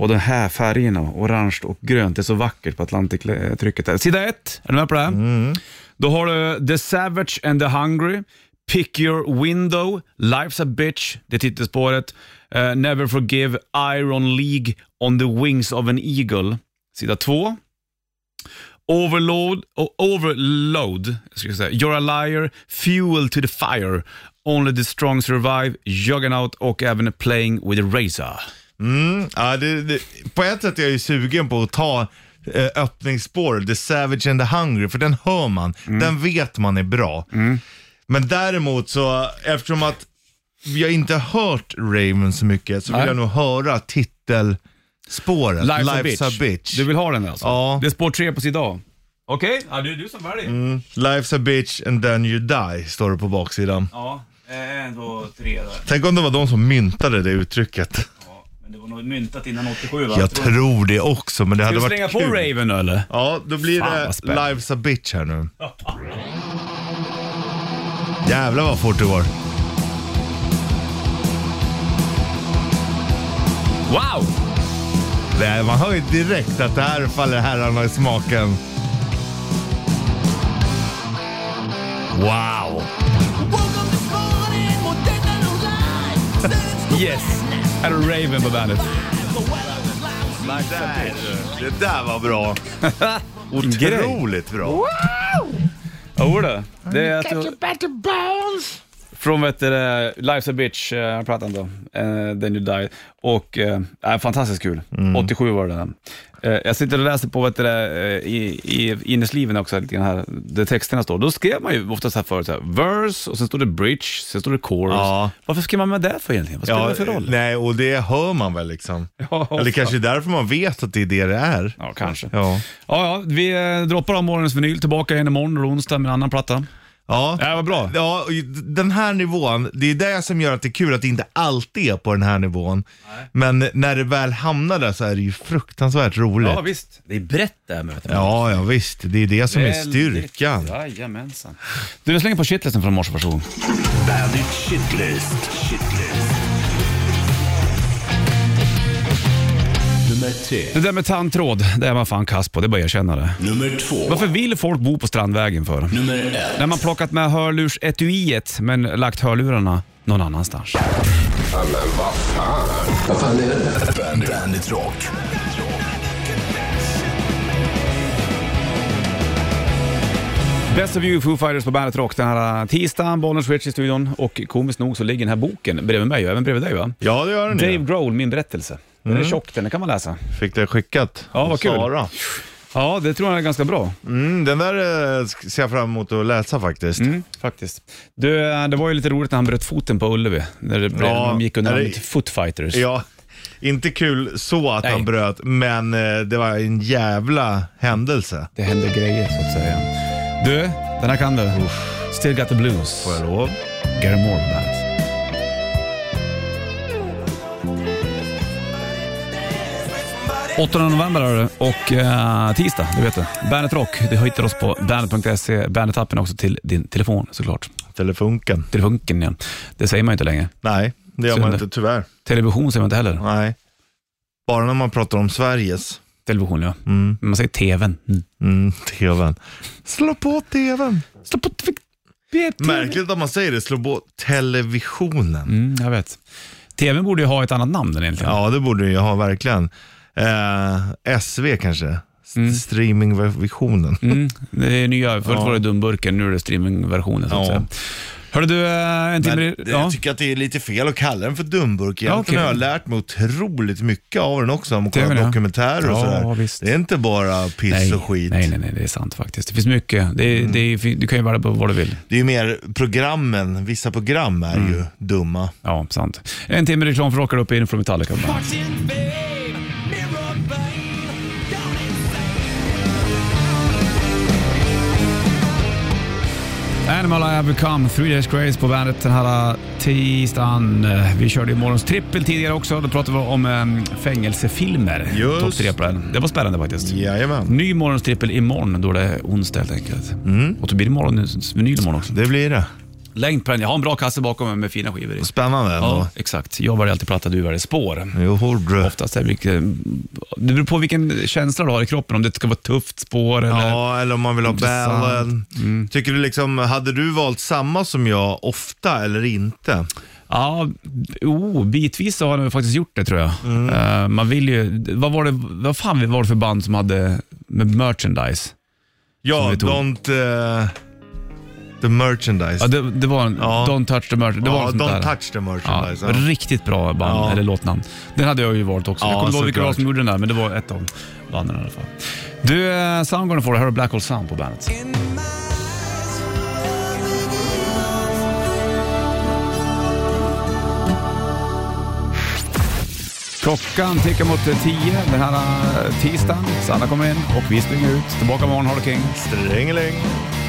Speaker 1: Och de här färgerna, orange och grönt, det är så vackert på Atlantic-trycket där. Sida ett, är du med på det? här? Då har du The Savage and the Hungry, Pick Your Window, Life's a Bitch, det är titelspåret, eh, Never Forgive, Iron League, On the Wings of an Eagle, sida två. Overload, o- overload ska jag säga. You're a liar, fuel to the fire, only the strong survive, juggernaut och även playing with a razor.
Speaker 3: Mm, ja, det, det, på ett sätt är jag ju sugen på att ta eh, öppningsspåret, The Savage and the Hungry, för den hör man.
Speaker 1: Mm.
Speaker 3: Den vet man är bra. Men däremot så, eftersom att jag inte har hört Raven så mycket, så vill
Speaker 1: Nej.
Speaker 3: jag nog höra titelspåret,
Speaker 1: Life's, a, bitch.
Speaker 3: Life's a bitch.
Speaker 1: Du vill ha den alltså?
Speaker 3: Ja.
Speaker 1: Det är spår tre på sida A. Okej, ja, det är du som väljer.
Speaker 3: Life's a bitch and then you die, står det på baksidan.
Speaker 1: Ja.
Speaker 6: eh, En, två, tre där.
Speaker 3: Tänk om det var de som myntade det uttrycket.
Speaker 6: Ja, men det var nog myntat innan 87 va?
Speaker 3: Jag tror det också, men det
Speaker 1: Ska
Speaker 3: hade
Speaker 1: vi
Speaker 3: varit
Speaker 1: slänga på
Speaker 3: kul.
Speaker 1: Raven nu eller?
Speaker 3: Ja, då blir
Speaker 1: Fan, vad
Speaker 3: det
Speaker 1: spännande.
Speaker 3: Lives a bitch här nu. Jävlar vad fort det går.
Speaker 1: Wow!
Speaker 3: Det här- Man hör ju direkt att det här faller herrarna i smaken. Wow!
Speaker 1: Yes! Här är Raven på bandet.
Speaker 3: Där, det där var bra. Otroligt bra.
Speaker 1: Jo då. Det är att... Get better bones! Från vet du, det, Life's a bitch, eh, jag pratade om det. Eh, Then you die. Och, eh, äh, fantastiskt kul. 87 var det den. Eh, jag sitter och läser på vet du, det, eh, i, i innesliven också, lite grann här, där texterna står. Då skrev man ju ofta så här förut, så här, verse och sen stod det bridge, sen stod det chorus.
Speaker 3: Ja.
Speaker 1: Varför skrev man med det för egentligen? Vad spelar det för roll?
Speaker 3: nej, och det hör man väl liksom.
Speaker 1: Ja,
Speaker 3: Eller
Speaker 1: ofta.
Speaker 3: kanske därför man vet att det är det det är.
Speaker 1: Ja, kanske. Ja.
Speaker 3: Ja.
Speaker 1: Ja, vi eh, droppar av morgonens vinyl. Tillbaka igen imorgon, eller onsdag, med en annan platta.
Speaker 3: Ja.
Speaker 1: Ja, vad bra.
Speaker 3: Ja, och den här nivån, det är det som gör att det är kul att det inte alltid är på den här nivån. Men när det väl hamnar där så är det ju fruktansvärt roligt.
Speaker 1: Ja, visst. Det är brett det här mötet.
Speaker 3: Ja, ja visst. Det är det som är styrkan.
Speaker 1: Jajamensan. Du, jag slänger på shitlisten från morse, varsågod.
Speaker 2: Bandit Shitlist. Shitlist. Nummer tre.
Speaker 1: Det där med tandtråd, det är man fan kass på, det är bara att erkänna det.
Speaker 2: Nummer två.
Speaker 1: Varför vill folk bo på Strandvägen för?
Speaker 2: Nummer ett.
Speaker 1: När man plockat med hörlursetuiet men lagt hörlurarna någon annanstans.
Speaker 2: Bandit, Bandit Rock.
Speaker 1: Best of you, Foo Fighters på Bandet Rock den här äh, tisdagen. Bollnäs Switch i studion och komiskt nog så ligger den här boken bredvid mig och även bredvid dig va?
Speaker 3: Ja, det gör den
Speaker 1: Dave
Speaker 3: ju.
Speaker 1: Grohl, Min berättelse. Den
Speaker 2: Mm.
Speaker 1: är tjock den, den kan man läsa.
Speaker 3: Fick det skickat.
Speaker 1: Ja, vad
Speaker 3: av
Speaker 1: kul.
Speaker 3: Sara.
Speaker 1: Ja, det tror jag är ganska bra.
Speaker 3: Mm, den där eh, sk- ser jag fram emot att läsa faktiskt.
Speaker 1: Mm, faktiskt. Du, eh, det var ju lite roligt när han bröt foten på Ullevi. När det blev,
Speaker 3: Ja,
Speaker 1: de gick under
Speaker 3: är det-
Speaker 1: namnet Footfighters.
Speaker 3: Ja, inte kul så att
Speaker 1: Nej.
Speaker 3: han bröt, men eh, det var en jävla händelse.
Speaker 1: Det händer grejer så att säga. Du, den här kan du. Still got the blues.
Speaker 3: Får jag lov?
Speaker 1: Gary Moore på bandet. Åttonde november är det och eh, tisdag, det vet du. Bandet Rock, du hittar oss på bandet.se. Bandet-appen också till din telefon såklart.
Speaker 3: Telefunken.
Speaker 1: Telefunken igen. Det säger man ju inte längre.
Speaker 3: Nej, det gör man
Speaker 1: Synd.
Speaker 3: inte tyvärr.
Speaker 1: Television säger man inte heller.
Speaker 3: Nej. Bara när man pratar om Sveriges.
Speaker 1: Television ja. Men Man säger TVn. Mm.
Speaker 3: Mm, TVn. Slå på TVn.
Speaker 1: Stå på TV.
Speaker 3: Märkligt att man säger det, slå på televisionen.
Speaker 1: Mm, jag vet. TVn borde ju ha ett annat namn än egentligen.
Speaker 3: Ja, det borde ju ha verkligen. Eh, SV kanske? S- Streamingvisionen.
Speaker 1: Mm, det är nya. Förut var det dumburken, nu är det streamingversionen. Så att
Speaker 3: Ja.
Speaker 1: säga. Hörde du, eh, en timme...
Speaker 3: Men
Speaker 1: ja.
Speaker 3: jag tycker att det är lite fel att kalla den för dumburk. Egentligen
Speaker 1: Ja, okej.
Speaker 3: har jag lärt mig otroligt mycket av den också. Om att kolla
Speaker 1: menar jag.
Speaker 3: dokumentärer och
Speaker 1: Ja,
Speaker 3: sådär.
Speaker 1: visst.
Speaker 3: Det är inte bara piss
Speaker 1: Nej,
Speaker 3: och skit. Mm.
Speaker 1: nej, nej, nej, det är sant faktiskt. Det finns mycket. Det, är- det är, du kan ju vara på vad du vill.
Speaker 3: Det är ju mer programmen. Vissa program är
Speaker 1: Mm.
Speaker 3: ju dumma.
Speaker 1: Ja, sant. En timme reklam för Rockar upp in från Metallica. Animal I have become, Three Days Grace på bandet den här äh, tisdagen. Eh, Vi körde ju morgons trippel tidigare också. Då pratade vi om em, fängelsefilmer.
Speaker 3: Just
Speaker 1: Topp tre på den. Det var spännande faktiskt.
Speaker 3: Jajamän.
Speaker 1: Ny morgons trippel imorgon, då det är onsdag helt enkelt.
Speaker 3: Mm.
Speaker 1: Och då blir det morgonens vinyl imorgon också.
Speaker 3: Det blir det.
Speaker 1: Längd på den. Jag har en bra kasse bakom mig med fina skivor i.
Speaker 3: Spännande ändå.
Speaker 1: Ja, exakt. Jag väljer alltid platta, du väljer spår.
Speaker 3: Jo, hårdare.
Speaker 1: Oftast är det, vilket, det beror på vilken känsla du har i kroppen, om det ska vara ett tufft spår eller...
Speaker 3: Ja, eller om man vill ha
Speaker 1: Intressant. Mm.
Speaker 3: bällen. Tycker du liksom, hade du valt samma som jag ofta eller inte?
Speaker 1: Ja, oh, bitvis så har de faktiskt gjort det tror jag.
Speaker 3: Mm.
Speaker 1: Eh, man vill ju... Vad var det, vad fan var det för band som hade med merchandise? Som
Speaker 3: Ja,
Speaker 1: vi tog.
Speaker 3: don't... eh, the merchandise.
Speaker 1: Ja, det, det var en...
Speaker 3: Ja.
Speaker 1: Don't touch the merchandise. Det var
Speaker 3: ja,
Speaker 1: något sånt
Speaker 3: don't
Speaker 1: där.
Speaker 3: touch the
Speaker 1: Ja,
Speaker 3: merchandise. Ja.
Speaker 1: riktigt bra band,
Speaker 3: Ja.
Speaker 1: eller låtnamn. Den hade jag ju valt också.
Speaker 3: Ja,
Speaker 1: jag kommer inte ihåg vilka det var
Speaker 3: såklart.
Speaker 1: som gjorde den där, men det var ett av banden i alla fall. Du, eh, Soundgarden får det. Här har du Black Hole Sound på bandet. Klockan tickar mot eh, tio den här eh, tisdagen. Sanna kommer in och vi springer ut. Tillbaka imorgon, ha det king.
Speaker 3: Stringeling.